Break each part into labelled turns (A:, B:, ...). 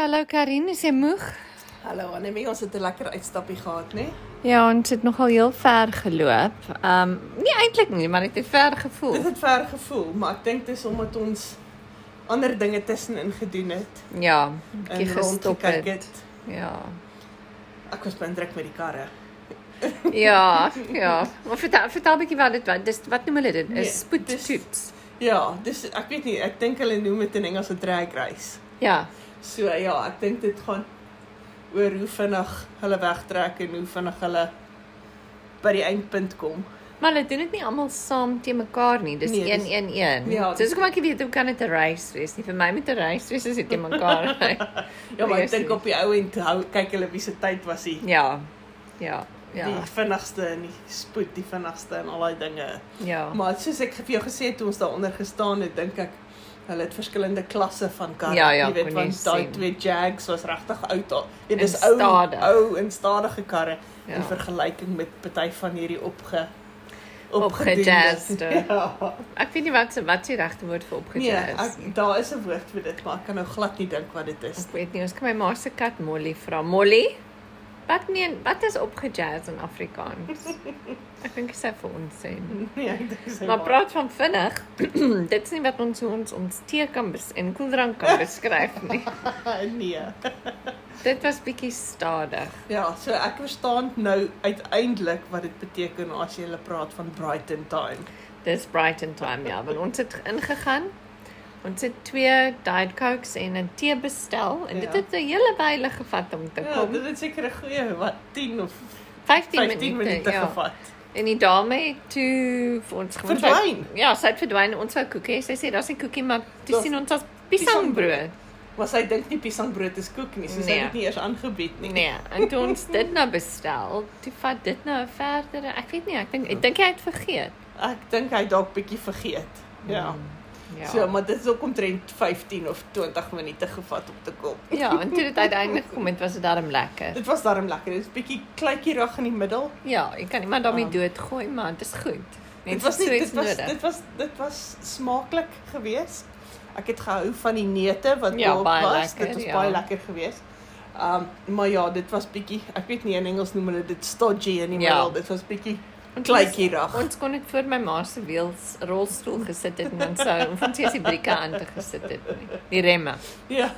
A: hallo Karin, is jy moeg?
B: Hallo Anemie, ons het 'n lekker uitstappie gehad, né?
A: Ja, ons het nogal heel ver geloop. Ehm um, nie eintlik nie, maar dit het ver
B: Dit
A: gevoel.
B: het ver gevoel, maar ek dink dis omdat ons ander dinge tussenin gedoen het
A: Ja, 'n bietjie gestop
B: rondgekyk
A: het. Ja.
B: Ek was beïndruk met die karre.
A: Ja, ja. Maar vertel vertel 'n bietjie wat dit was. Dis wat noem hulle dit?
B: Nee,
A: 'n
B: dis-
A: Spoedtoets.
B: Ja, dis ek weet nie, ek dink hulle noem dit in Engels 'n drag race.
A: Ja,
B: So ja, ek dink dit gaan oor hoe vinnig hulle wegtrek en hoe vinnig hulle by die eindpunt kom.
A: maar hulle doen dit nie almal saam te mekaar nie. Dis
B: Nee, dis-
A: 1-1-1.
B: Ja,
A: Soos kom ek nie weet hoe kan dit 'n race wees nie. Vir my moet 'n race wees as dit te mekaar ry.
B: Ja, maar ek
A: Yes,
B: dink
A: yes.
B: op die ou end hou kyk hulle wie se tyd was die
A: Ja. Ja. Ja.
B: die vinnigste en die spoed die vinnigste en al daai dinge.
A: Ja.
B: Maar soos ek vir jou gesê het toe ons daaronder gestaan het, dink ek hulle het verskillende klasse van karre.
A: Ja, ja,
B: jy weet
A: kon jy
B: want daai
A: sien.
B: twee Jags was regtig oud al. Ja, dis
A: En
B: ou
A: stadig.
B: ou en stadige karre ja.
A: Ja.
B: in vergelyking met party van hierdie opge opgedoende-
A: Opgejazzed.
B: Ja.
A: Ek weet nie wat se wat se regte woord vir
B: Nee,
A: opgejazz is.
B: ek, daar is 'n woord vir dit, maar ek kan nou glad nie dink wat dit is.
A: Ek weet nie, ons kan my ma se kat Molly vra. Molly? Wat meen, wat is opgejazz in Afrikaans? Ek dink sy vir ons sê.
B: Nee, ek dink sy
A: Maar
B: maak-
A: praat van vinnig. Dit is nie wat ons hoe ons ons tee kan bes en koeldrank kan beskryf nie.
B: nee.
A: Dit was bietjie stadig.
B: Ja, so ek verstaan nou uiteindelik wat dit beteken as jy hulle praat van Brighton Time.
A: Dis Brighton time ja, want ons het ingegaan. Ons het twee Diet Cokes en 'n tee bestel en dit
B: Ja.
A: het 'n hele wyle gevat om te
B: Ja,
A: kom.
B: dit het seker 'n goeie wat 10 of
A: 15 minute.
B: 15 minute
A: ja.
B: gevat.
A: En die dame het toe vir ons gewys-
B: Verdwyn.
A: Ja, sy het verdwyn. Ons wou koekie. Sy sê daar's nie koekie maar toe
B: Daar's
A: sien ons as piesangbrood.
B: Maar sy dink nie piesangbrood is koek nie, so sy
A: Nee.
B: het dit nie eers aangebied nie.
A: Nee, en toe ons dit nou bestel, toe vat dit nou 'n verdere. Ek weet nie, ek dink ek dink hy het vergeet.
B: Ek dink hy dalk bietjie vergeet. Ja.
A: Ja.
B: ja. Mm. So, maar dit is ook omtrent 15 of 20 minute gevat om te kom.
A: ja, en toe dit uiteindelik kom, dit was dit darm lekker.
B: Dit was darm lekker. Dit is bietjie kleitjierig in die middel.
A: Ja, ek kan iemand daarmee
B: Ah.
A: doodgooi, maar dit is goed.
B: Dit
A: Mense
B: was nie
A: so iets
B: dit was
A: nodig.
B: dit was dit was smaaklik geweest. Ek het gehou van die neute wat
A: Ja,
B: daarop
A: baie
B: was.
A: lekker,
B: dit was
A: ja.
B: baie lekker geweest. Um maar ja, dit was bietjie, ek weet nie in Engels noem hulle dit stodgy in die
A: Ja.
B: middel. Dit was bietjie
A: Ons
B: kleitjierig.
A: Ons kon dit voor my ma se wiels rolstoel gesit het en ons sou ons eers die brieke aan te gesit het nie. Die remme.
B: Ja,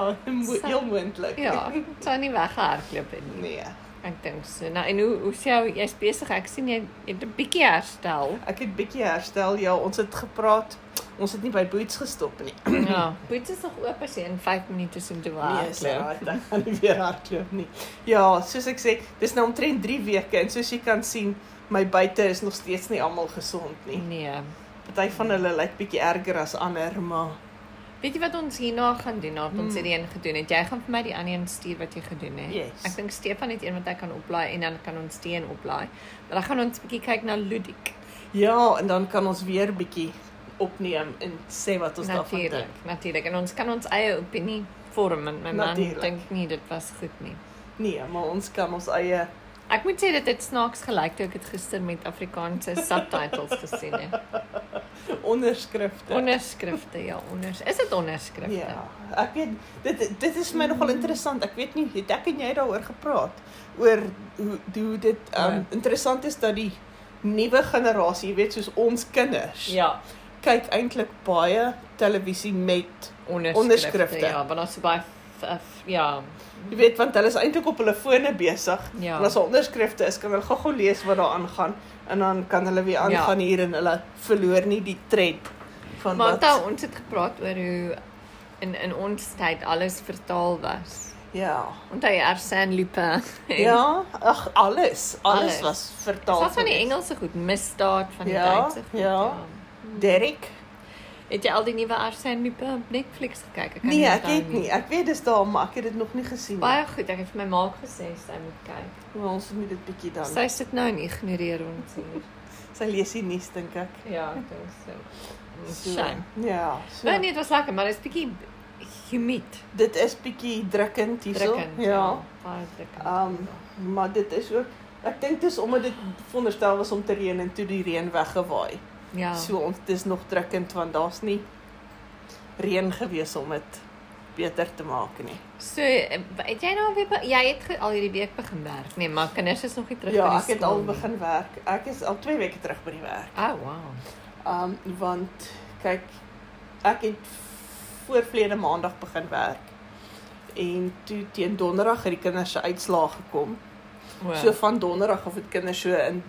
B: mo
A: Sa-
B: heel moontlik.
A: Ja, dit sou nie weggehardloop het nie.
B: Nee.
A: Ek dink so. Nou en hoe hoe sê jy jy's besig? Ek sien jy jy het 'n bietjie herstel.
B: Ek het bietjie herstel. Ja, ons het gepraat. Ons het nie by Boots gestop nie.
A: Ja. Boets is nog oop as jy in 5 minute sien toe waar.
B: Nee, raad, ek gaan nie weer hardloop nie. Ja, soos ek sê, dis nou omtrent 3 weke en soos jy kan sien, my buite is nog steeds nie almal gesond nie.
A: Nee.
B: Party van hulle lyk bietjie erger as ander, maar
A: Weet jy wat ons hierna gaan doen nadat ons
B: Hmm.
A: hierdie een gedoen het? Jy gaan vir my die ander een stuur wat jy gedoen het.
B: Yes.
A: Nee, Ek dink Stefan het een wat hy kan oplaai en dan kan ons die een oplaai. Maar dan gaan ons 'n bietjie kyk na Ludik.
B: ja, en dan kan ons weer bietjie opneem en sê wat ons daarvan
A: Natuurlik,
B: dink.
A: natuurlik. En ons kan ons eie opinie vorm en my man
B: Natuurlijk.
A: dink nie dit was goed nie.
B: Nee, maar ons kan ons eie
A: Ek moet sê dit het snaaks gelyk toe ek dit gister met Afrikaanse subtitles gesien het.
B: onderskrifte.
A: Onderskrifte, ja, onders. Is dit onderskrifte?
B: Ja, ek weet dit dit is vir my nogal
A: Mm.
B: interessant. Ek weet nie het ek en jy daaroor gepraat oor hoe hoe dit um,
A: Nee.
B: interessant is dat die nuwe generasie, jy weet soos ons kinders,
A: Ja,
B: kyk eintlik baie televisie met
A: onderskrifte.
B: Onderskrifte.
A: Ja, want daar's so baie f- f- ja,
B: jy weet want hulle is eintlik op hulle fone besig.
A: Ja.
B: En as daar onderskrifte is, kan hulle gou-gou lees wat daar aangaan en dan kan hulle weer
A: Ja.
B: aangaan hier en hulle verloor nie die tred van wat
A: Martha, ons het gepraat oor hoe in in ons tyd alles vertaal was.
B: Ja.
A: Onthou jy Arsène Lupin?
B: Ja, ag alles, alles,
A: Alles.
B: was vertaal.
A: Wat van die
B: gewees.
A: Engelse goed, misdaad van die
B: Ja,
A: Duitse goed.
B: ja. Derek
A: Het jy al die nuwe Arsène Lupin op Netflix gekyk? Ek kan
B: Nee,
A: nie
B: ek
A: onthou
B: het nie. Ek weet dis daar, maar ek het dit nog nie gesien nie.
A: Baie goed, ek het vir my ma gesê sy moet kyk.
B: Maar ons moet dit bietjie dan. Sy,
A: Sy sit nou en ignoreer ons hier.
B: sy lees die nuus dink ek.
A: Ja, ek dink so.
B: So,
A: Shame.
B: Ja, so.
A: Maar nee, dit was lekker, maar dit is bietjie humid,
B: Dit is bietjie drukkend hierso.
A: drukkend.
B: Ja.
A: baie drukkend.
B: Ehm, maar dit is ook ek dink dis omdat dit veronderstel was om te reën en toe die reën weggewaai.
A: ja.
B: So ons dis nog drukkend want daar's nie reën gewees om dit beter te maak nie.
A: So, eh, het jy nou weer be- jy het ge, al hierdie week begin werk, nee, maar kinders is nog nie terug
B: Ja,
A: by die
B: ek het
A: skool
B: al
A: nie.
B: begin werk. Ek is al 2 weke terug by die werk.
A: Ah, wow.
B: Um want kyk, ek het voorvlede maandag begin werk. En toe teen donderdag het die kinders se uitslae gekom.
A: wow.
B: So van donderdag af het kinders so in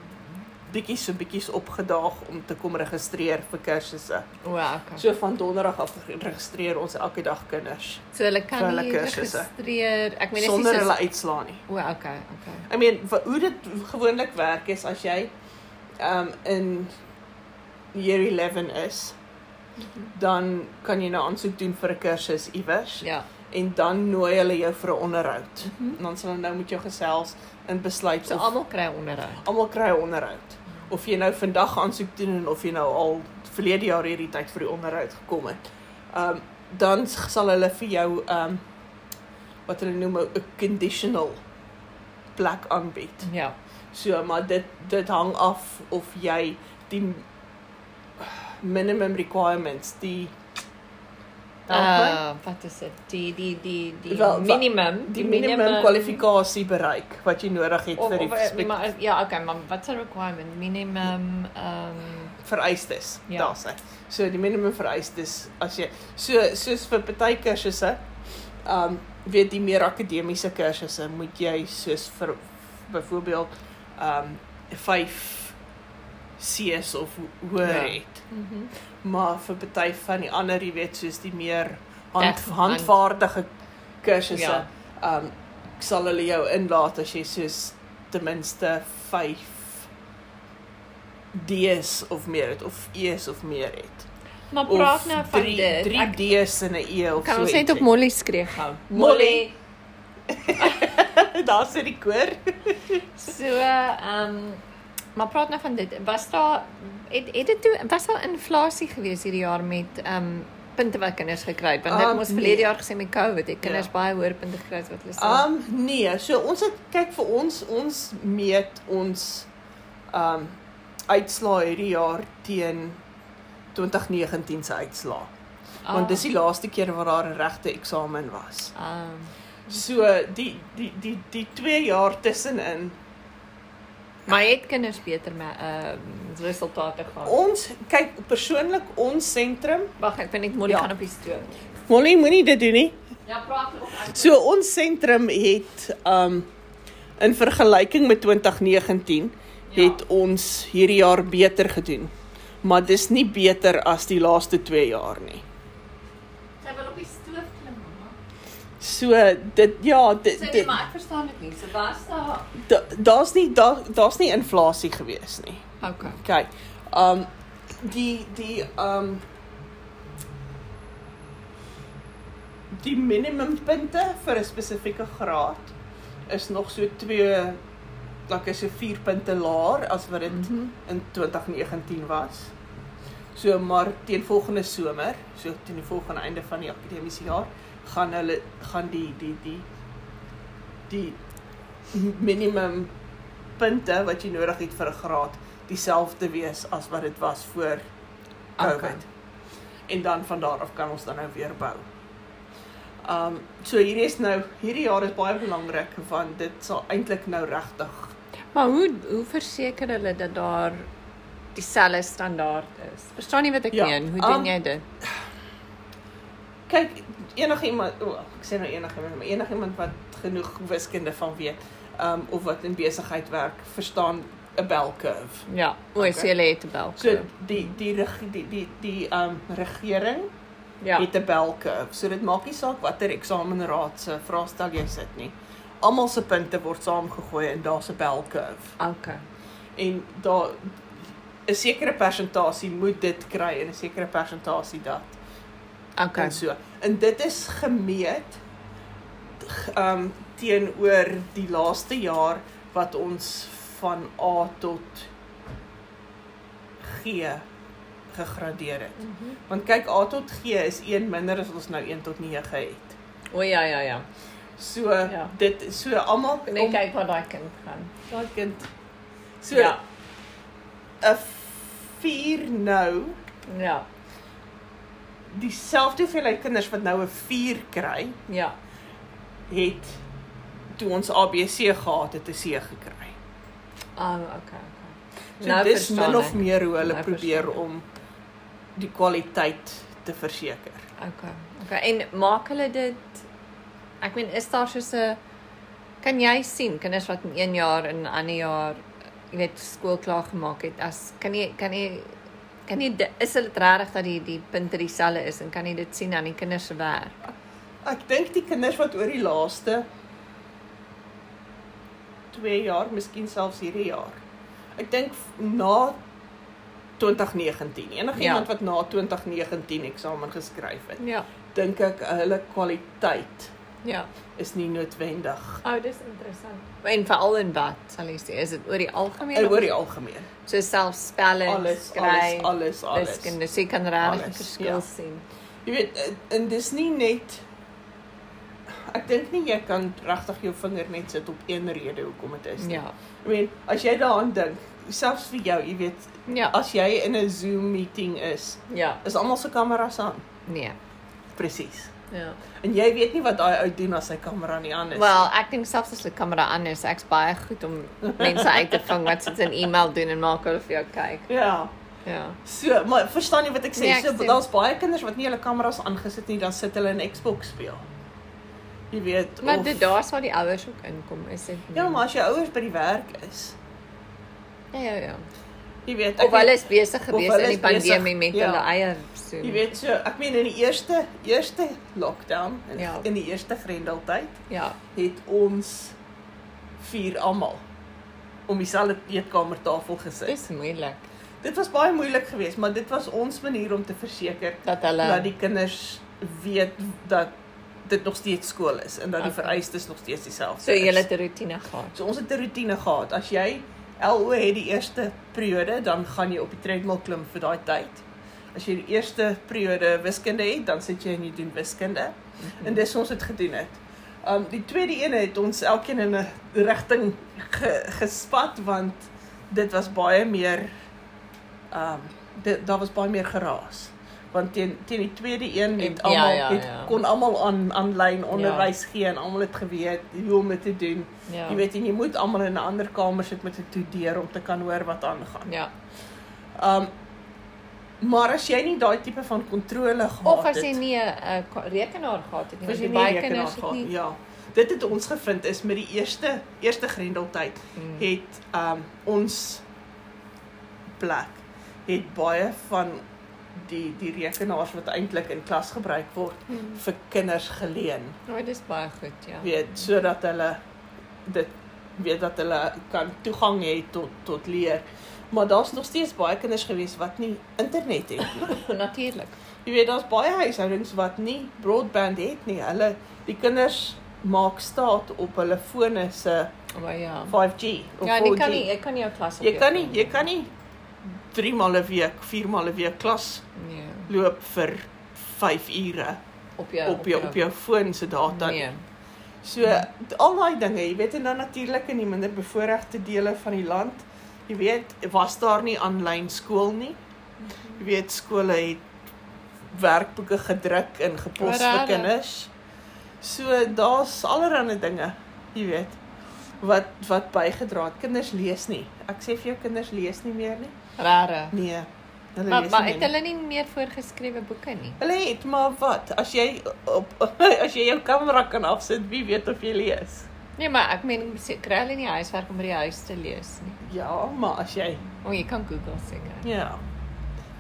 B: bietjies so bietjies opgedaag om te kom registreer vir kursusse.
A: wow, okay. so,
B: So van donderdag af registreer ons elke dag kinders
A: so hulle
B: vir
A: kan
B: hulle
A: nie
B: kursusse.
A: registreer. Ek meen
B: sonder
A: is
B: hulle uitslaa nie.
A: O, wow, okay, okay.
B: I mean wa- hoe dit gewoonlik werk is as jy um in year 11 is, dan kan jy 'n aansoek doen vir 'n kursus iewers
A: Mhm. Ja. Mhm.
B: en dan nooi hulle jou vir 'n onderhoud. En dan sal hulle nou met jou gesels en besluit
A: So
B: of
A: almal kry onderhoud.
B: almal kry 'n onderhoud. Of jy nou vandag aansoek doen en of jy nou al verlede jaar hierdie tyd vir die onderhoud gekom het. Um dan s- sal hulle vir jou um wat hulle noem 'n conditional plek aanbied.
A: Ja.
B: So maar dit dit hang af of jy die minimum requirements, die
A: Uh, wat is dit? Die die die die
B: Wel, wa-
A: minimum,
B: die minimum kwalifikasie bereik wat jy nodig het
A: Of,
B: vir die
A: of,
B: spek-
A: maar ja, okay, maar wat se requirement? Minimum ehm um,
B: vereistes.
A: Ja.
B: Ja. Daar's hy. So die minimum vereistes as jy so soos vir party kursusse, um weet die meer akademiese kursusse moet jy soos vir byvoorbeeld um 5 C's of ho- hoër
A: Ja.
B: ja. het.
A: mm -hmm.
B: Maar vir party van die ander, jy weet, soos die meer hand,
A: Echt, hand-
B: handvaardige kursusse,
A: Ja.
B: ja. um sal hulle jou inlaat as jy soos ten minste 5 D's of meer het of E's of meer het.
A: Maar
B: Of
A: praat nou van
B: drie-
A: dit.
B: Drie
A: Ek
B: D's en 'n E of
A: kan
B: so.
A: ons net op
B: ietsie.
A: Molly skree gou.
B: Molly. Daar sit die koor.
A: So, ehm um, maar praat nou van dit. Was daar het het dit toe was daar inflasie gewees hierdie jaar met ehm um, punte wat kinders gekry het? Want dit
B: Ah,
A: um, ons
B: nee.
A: verlede jaar gesê met COVID het kinders ja.
B: Ja.
A: baie hoër punte gekry as wat hulle sê.
B: Um nee, so ons het kyk vir ons ons meet ons um uitslaa hierdie jaar teen 2019 se uitslaa. Ah. Want dis die laaste keer wat daar 'n regte eksamen was.
A: ehm um,
B: So die die die die 2 jaar tussenin
A: maar het kinders beter met ehm um, resultate gehad.
B: ons kyk persoonlik ons sentrum
A: Wag, ek vind net Molly
B: Ja.
A: gaan op die stoel.
B: Molly moenie dit doen nie
A: Ja, praat op.
B: So ons sentrum het um in vergelyking met 2019
A: Ja.
B: het ons hierdie jaar beter gedoen. Maar dis nie beter as die laaste 2 jaar nie.
A: Sy wil op die stoof klim.
B: So dit ja, dit, Eh, dit
A: ek verstaan dit nie. So was daar
B: da- daar's nie daar daar's nie inflasie gewees nie.
A: Okay.
B: Okay. Um die die um die minimumpunte vir 'n spesifieke graad is nog so 2 like is so 4 punte laer as wat dit mm -hmm.
A: Mhm.
B: in 2019 was. So maar teen volgende somer, so teen die volgende einde van die akademiese jaar, gaan hulle gaan die die die die minimum punte wat jy nodig het vir 'n graad dieselfde wees as wat dit was voor
A: Okay.
B: COVID. Okay. En dan van daar af kan ons dan nou weer bou. Um so hierdie is nou hierdie jaar is baie belangrik want dit sal eintlik nou regtig
A: Maar hoe hoe verseker hulle dat daar dieselfde standaard is? Verstaan nie wat ek ja,
B: Ja,
A: meen. Hoe doen um,
B: um,
A: jy dit?
B: kyk enigiemand o, ek sê nou enigiemand maar enigiemand wat genoeg wiskunde van weet um of wat in besigheid werk verstaan 'n bell curve.
A: Ja, o, okay.
B: okay.
A: so jy het 'n bel.
B: So die die reg- die die, die um regering
A: ja.
B: het 'n bell curve. So dit maak nie saak watter eksamenraad se vraestel jy sit nie. Almal se punte word saamgegooi en daar's 'n bell curve.
A: Okay.
B: En daar 'n sekere persentasie moet dit kry en 'n sekere persentasie dat.
A: Okay.
B: en so. En dit is gemeet g- um teenoor die laaste jaar wat ons van A tot G gegradeer het.
A: Mhm.
B: Want kyk A tot G is een minder as ons nou 1 tot 9 het.
A: O ja ja ja.
B: So
A: Ja.
B: ja. dit so almal
A: Net om... kyk wat daai kind gaan.
B: daai kind. So 'n
A: ja.
B: 4 nou
A: Ja.
B: dieselfde hoeveelheid kinders wat nou 'n 4 kry,
A: Ja.
B: het toe ons ABC gehad het 'n C gekry.
A: Um okay. okay.
B: So nou dis min of
A: ek.
B: meer hoe
A: Nou
B: hulle nou
A: verstaan
B: probeer
A: ek.
B: om die kwaliteit te verseker.
A: Okay. Okay. En maak hulle dit Ek meen is daar soos 'n kan jy sien kinders wat in een jaar en 'n ander jaar jy weet skool klaar gemaak het as kan jy kan jy kan jy di- is dit regtig dat die die punte dieselfde is en kan jy dit sien aan die kinders se werk?
B: Ek dink die kinders wat oor die laaste 2 jaar, miskien selfs hierdie jaar. Ek dink f- na 2019, enige
A: Ja.
B: iemand wat na 2019 eksamen geskryf het,
A: Ja.
B: dink ek hulle kwaliteit
A: Ja.
B: is nie noodwendig
A: O, oh, dis interessant. En veral in wat sal jy sê is dit oor die algemeen
B: eh,
A: of
B: oor die algemeen.
A: so self spelling,
B: Alles,
A: skryf,
B: alles, alles, alles.
A: wiskunde, so jy kan regtig 'n
B: Alles,
A: verskil
B: ja.
A: sien.
B: Jy weet, en- en dis nie net ek dink nie jy kan regtig jou vinger net sit op een rede hoekom dit is nie.
A: Ja.
B: Ek meen, as jy daaraan dink, selfs vir jou, jy weet,
A: Ja.
B: as jy in 'n Zoom meeting is,
A: Ja.
B: is almal se kameras aan.
A: Nee.
B: Presies.
A: Ja.
B: En jy weet nie wat daai ou doen as sy kamera nie aan is.
A: Wel, ek dink selfs as die kamera aan is, ek's baie goed om mense uit te vang wat sit in e-mail doen en maak hulle vir jou kyk.
B: ja.
A: Ja.
B: So, maar verstaan jy wat ek sê?
A: Nee, ek
B: so
A: stem.
B: daar's baie kinders wat nie hulle kameras aangesit nie, dan sit hulle in Xbox speel. Jy weet,
A: Maar
B: of-
A: dit daar's waar die ouers ook inkom, is dit nie?
B: Ja, maar as jou ouers by die werk is,
A: Ja, ja, ja.
B: jy weet, ek
A: Of hulle
B: weet-
A: is besig
B: Of
A: gewees
B: hulle
A: in die
B: is besig,
A: pandemie met
B: ja.
A: hulle eie so.
B: Jy weet so, ek meen in die eerste eerste lockdown in,
A: Ja.
B: in die eerste grendeltyd
A: Ja.
B: het ons vier almal om dieselfde eetkamertafel gesit.
A: Dis moeilik
B: Dit was baie moeilik geweest, maar dit was ons manier om te verseker
A: dat hulle
B: dat die kinders weet dat dit nog steeds skool is en dat die
A: Okay.
B: vereistes nog steeds dieselfde
A: so julle
B: is.
A: te rotine gehad.
B: So ons het 'n roetine gehad. As jy LO het die eerste periode, dan gaan jy op die treadmill klim vir daai tyd. As jy die eerste periode wiskunde het, dan sit jy en jy doen wiskunde.
A: Mhm.
B: En dis ons het gedoen het. Um die tweede een het ons elkeen in 'n rigting ge, gespat want dit was baie meer um dit daar was baie meer geraas. Want teen teen die tweede een het
A: Ja,
B: almal
A: ja,
B: het
A: ja.
B: kon almal aan aanlyn onderwys gee en almal het geweet hoe om dit te doen.
A: Ja.
B: Jy weet en jy moet almal in 'n ander kamer sit met 'n toedeur om te kan hoor wat aangaan.
A: Ja.
B: Um maar as jy nie daai tipe van kontrole gehad
A: Of as
B: het,
A: jy nie 'n uh, rekenaar gehad het nie,
B: was
A: want
B: jy
A: die
B: nie
A: baie
B: rekenaar
A: kinders het
B: gehad
A: nie.
B: ja. Dit het ons gevind is met die eerste eerste grendeltyd
A: Mm.
B: het um ons plek het baie van die die rekenaars wat eintlik in klas gebruik word
A: Hmm.
B: vir kinders geleen.
A: Nou, dis baie goed, ja.
B: Weet sodat hulle dit weet dat hulle kan toegang hê tot tot leer. Maar daar's nog steeds baie kinders gewees wat nie internet het nie.
A: Natuurlik.
B: Jy weet daar's baie huishoudings wat nie broadband het nie. Hulle die kinders maak staat op hulle fone se
A: Maar ja.
B: 5G of
A: Ja, en
B: 4G.
A: jy kan nie, jy kan nie jou klas op
B: jy
A: jou
B: kan nie
A: foon
B: jy kan nie 3 maal 'n week, 4 maal 'n week klas
A: Nee.
B: loop vir 5 ure
A: Op jou
B: op jou op jou foon se
A: Ja,
B: data.
A: Nee.
B: So d- al daai dinge, jy weet en dan natuurlik in die minder bevoorregte dele van die land, jy weet, was daar nie aanlyn skool nie. Jy weet skole het werkboeke gedruk en gepos vir
A: Rarig.
B: kinders. So daar's allerlei dinge, jy weet, wat wat bygedra het. Kinders lees nie. Ek sê vir jou kinders lees nie meer nie.
A: Rare.
B: Nee. Hulle
A: Maar
B: lees
A: maar
B: nie.
A: het
B: meer nie.
A: hulle nie meer voorgeskrewe boeke nie.
B: Hulle het maar wat? As jy op as jy jou kamera kan afsit, wie weet of jy lees.
A: Nee, maar ek meen se- kry hulle nie huiswerk om by die huis te lees nie.
B: Ja, maar as jy
A: O, jy kan Google seker.
B: Ja.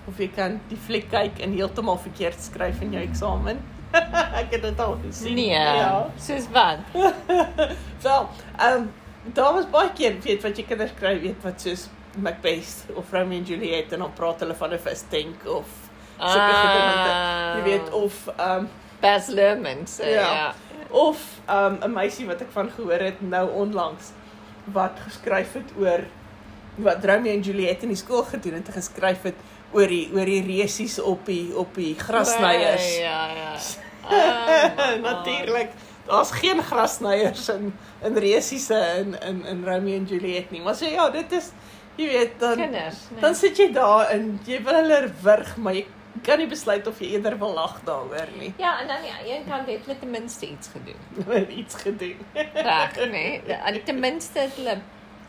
B: Of jy kan die fliek kyk en heeltemal verkeerd skryf in jou eksamen. ek het dit al gesien.
A: Nee.
B: Ja.
A: Ja. Soos wat?
B: Wel, ehm um, daar was baie keer weet wat jy kinders kry weet wat soos Macbeth of Romeo and Juliet en dan praat hulle van 'n vistank of sulke
A: Ah,
B: goed om aan te- jy weet of ehm um,
A: Bas Lerman se.
B: Ja.
A: Ja.
B: of ehm um, 'n meisie wat ek van gehoor het nou onlangs wat geskryf het oor wat Romeo en Juliet in die skool gedoen het en geskryf het oor die oor die resies op die op die grassnyers.
A: Ja, ja. Ah, mamma.
B: Natuurlik. Daar's geen grassnyers in in resiese in in in Romeo en Juliet nie. Maar so ja, dit is jy weet dan
A: Kinders. nee.
B: dan sit jy daar en jy wil hulle wurg, maar jy kan nie besluit of jy eerder wil lag daaroor nie.
A: Ja, en aan die een kant het hulle ten minste iets gedoen.
B: Hulle het iets gedoen.
A: Reg, né? Nee? Aan ten minste het hulle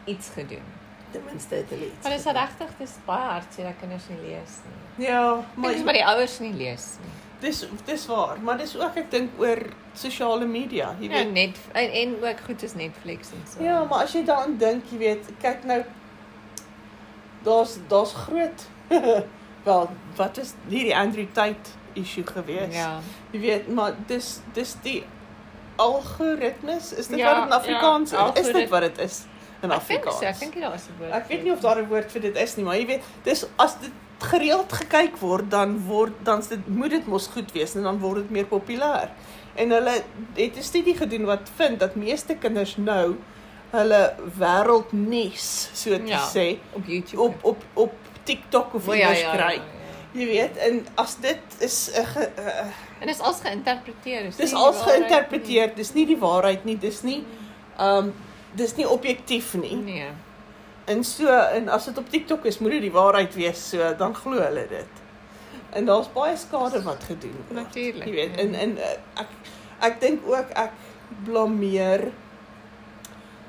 A: iets gedoen.
B: Ten minste het hulle iets.
A: Maar is regtig dis baie hartseer dat kinders nie lees nie.
B: Ja,
A: Maar
B: maar
A: dis maar die ouers nie lees nie.
B: dis dis waar, maar dis ook ek dink oor sosiale media, jy
A: Ja,
B: weet.
A: net en, en ook goed is Netflix en so.
B: Ja, maar as jy daaraan dink, jy weet, kyk nou daar's daar's groot wel, wat is hierdie Andrew Tate issue gewees?
A: Ja.
B: Jy weet, maar dis dis die algoritmes, is dit
A: Ja,
B: ja, wat dit in Afrikaans
A: ja,
B: ja, is? Is
A: algorit-
B: dit wat dit is
A: Ek
B: in
A: dink
B: Afrikaans?
A: so, ek dink daar is 'n woord.
B: Ek weet nie of daar 'n woord vir dit is nie, maar jy weet, dis as dit gereeld gekyk word, dan word dan's dit moet dit mos goed wees en dan word dit meer populêr. En hulle het 'n studie gedoen wat vind dat meeste kinders nou hulle wêreldnuus, so te
A: Ja.
B: ja. sê,
A: op YouTube.
B: op op op TikTok of
A: O,
B: iewers
A: ja,
B: ja,
A: ja, ja,
B: kry.
A: ja.
B: Jy weet, en as dit is 'n ge- 'n
A: En dis als geïnterpreteer.
B: Dis
A: nie
B: als
A: die waarheid
B: geïnterpreteer, dis nie die waarheid nie, dis nie ehm um, dis nie objektief
A: nie.
B: nie.
A: Nee.
B: En so en as dit op TikTok is, moet dit die waarheid wees, so dan glo hulle dit. En daar's baie skade wat gedoen word.
A: Natuurlik,
B: Jy weet,
A: ja.
B: en en eh, ek ek dink ook ek blameer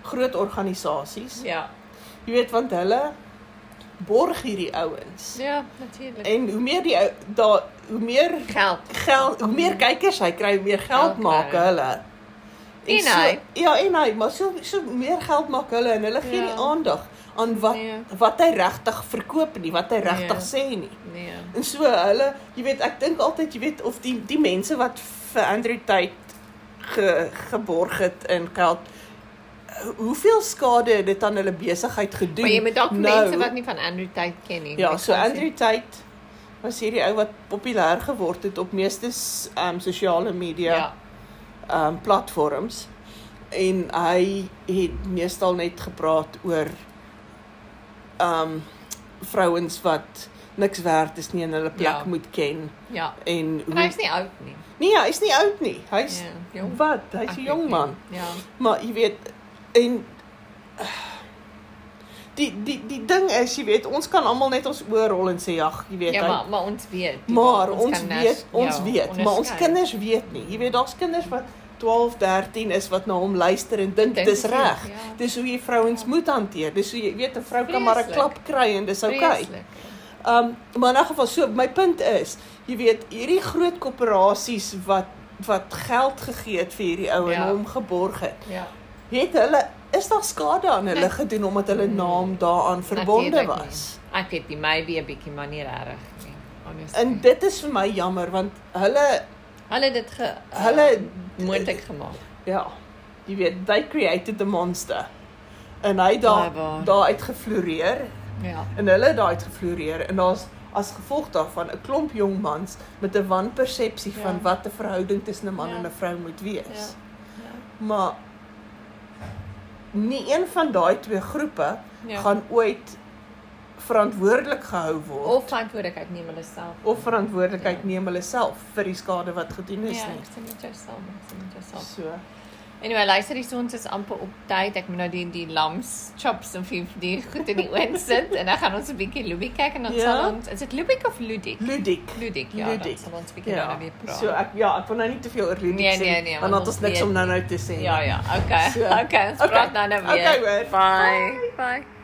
B: groot organisasies.
A: Ja.
B: Jy weet want hulle borg hierdie ouens.
A: Ja, natuurlik.
B: En hoe meer die ou- daar hoe meer
A: geld.
B: geld, hoe meer kykers hy kry, hoe meer
A: Geld
B: geld
A: kry
B: maak
A: hy.
B: hulle.
A: En
B: En
A: hy.
B: So, ja, en hy, maar so so meer geld maak hulle en hulle gee
A: Ja.
B: nie aandag aan wat
A: Nee.
B: wat hy regtig verkoop nie, wat hy regtig
A: Nee.
B: sê nie.
A: Nee.
B: En so hulle, jy weet, ek dink altyd, jy weet, of die die mense wat vir Andrew Tate ge, geborg het in geld hoeveel skade het dit aan hulle besigheid gedoen?
A: Maar jy moet dalk nou,
B: nou?
A: mense wat nie van Andrew Tate ken nie.
B: Ja,
A: Dit
B: so
A: kan sê-
B: Andrew Tate was hierdie ou wat populêr geword het op meeste um sosiale media
A: Ja.
B: um platforms en hy het meestal net gepraat oor um vrouens wat niks werd is nie en hulle plek
A: Ja.
B: ja. moet ken
A: Ja.
B: en
A: Maar
B: hoe
A: hy's nie oud nie.
B: Nee, hy's nie oud nie. Hy's
A: Ja,
B: ja,
A: jong.
B: wat? Hy's 'n jong man.
A: Ja.
B: Maar jy weet en die die die ding is, jy weet, ons kan almal net ons oor rol en sê ag, jy weet,
A: Ja,
B: hy-
A: maar maar ons weet. die-
B: maar ons
A: kan nas-
B: weet, ons
A: ja,
B: weet, maar ons
A: onderskei.
B: kinders weet nie. Jy weet, daar's kinders wat 12, 13 is wat na hom luister en dink
A: Dink
B: dis
A: dit,
B: reg.
A: ja.
B: Dis hoe jy vrouens moet hanteer. Dis hoe jy weet 'n vrou kan maar 'n
A: Vreeslik.
B: klap kry en dis oukei.
A: Vreeslik.
B: Um maar in 'n geval so my punt is, jy weet, hierdie groot korporasies wat wat geld gegee het vir hierdie ou en
A: Ja.
B: hom geborg het.
A: Ja.
B: Het hulle is daar skade aan hulle
A: Nee.
B: gedoen omdat hulle naam daaraan verbonde
A: Natuurlijk nie.
B: was?
A: Ek weet nie, maybe 'n bietjie maar nie regtig nie.
B: En
A: Honestly.
B: dit is vir my jammer want hulle
A: Hulle het dit ge
B: Hulle-
A: uh, moontlik gemaak.
B: Ja. Jy weet, they created the monster. En
A: Baie
B: hy daar
A: waar.
B: daar uit gefloreer
A: Ja.
B: en hulle het daai uit gefloreer en daar's as gevolg daarvan 'n klomp jong mans met 'n wanpersepsie
A: Ja.
B: van wat 'n verhouding tussen 'n man
A: Ja.
B: en 'n vrou moet wees.
A: Ja.
B: Maar nie een van daai twee groepe
A: Ja.
B: gaan ooit verantwoordelik gehou word
A: of verantwoordelikheid neem hulle self.
B: of verantwoordelikheid
A: Ja.
B: neem hulle self vir die skade wat gedoen is
A: Ja,
B: nie.
A: ek stem met jou saam, ek stem met jou saam.
B: So.
A: Anyway, luister hier, so ons is amper op tyd. Ek moet nou die die lams chops en vir die goed in die oond sit en dan gaan ons 'n bietjie Luby kyk en dan
B: Ja.
A: sal ons is dit Lubiek of Ludik?
B: Ludik.
A: Ludik, ja, dan
B: Ludik.
A: sal ons 'n bietjie
B: Ja.
A: daarna weer praat.
B: So ek ja, ek wil nou nie te veel oor Ludik
A: Nee,
B: sê
A: nee,
B: nie,
A: nee, want
B: want dan
A: ons
B: het ons niks
A: weet
B: om nou nou te sê.
A: Ja, ja. Okay.
B: So,
A: okay, ons
B: okay.
A: praat nou nou weer.
B: Okay, hoor.
A: Bye. Bye. Bye.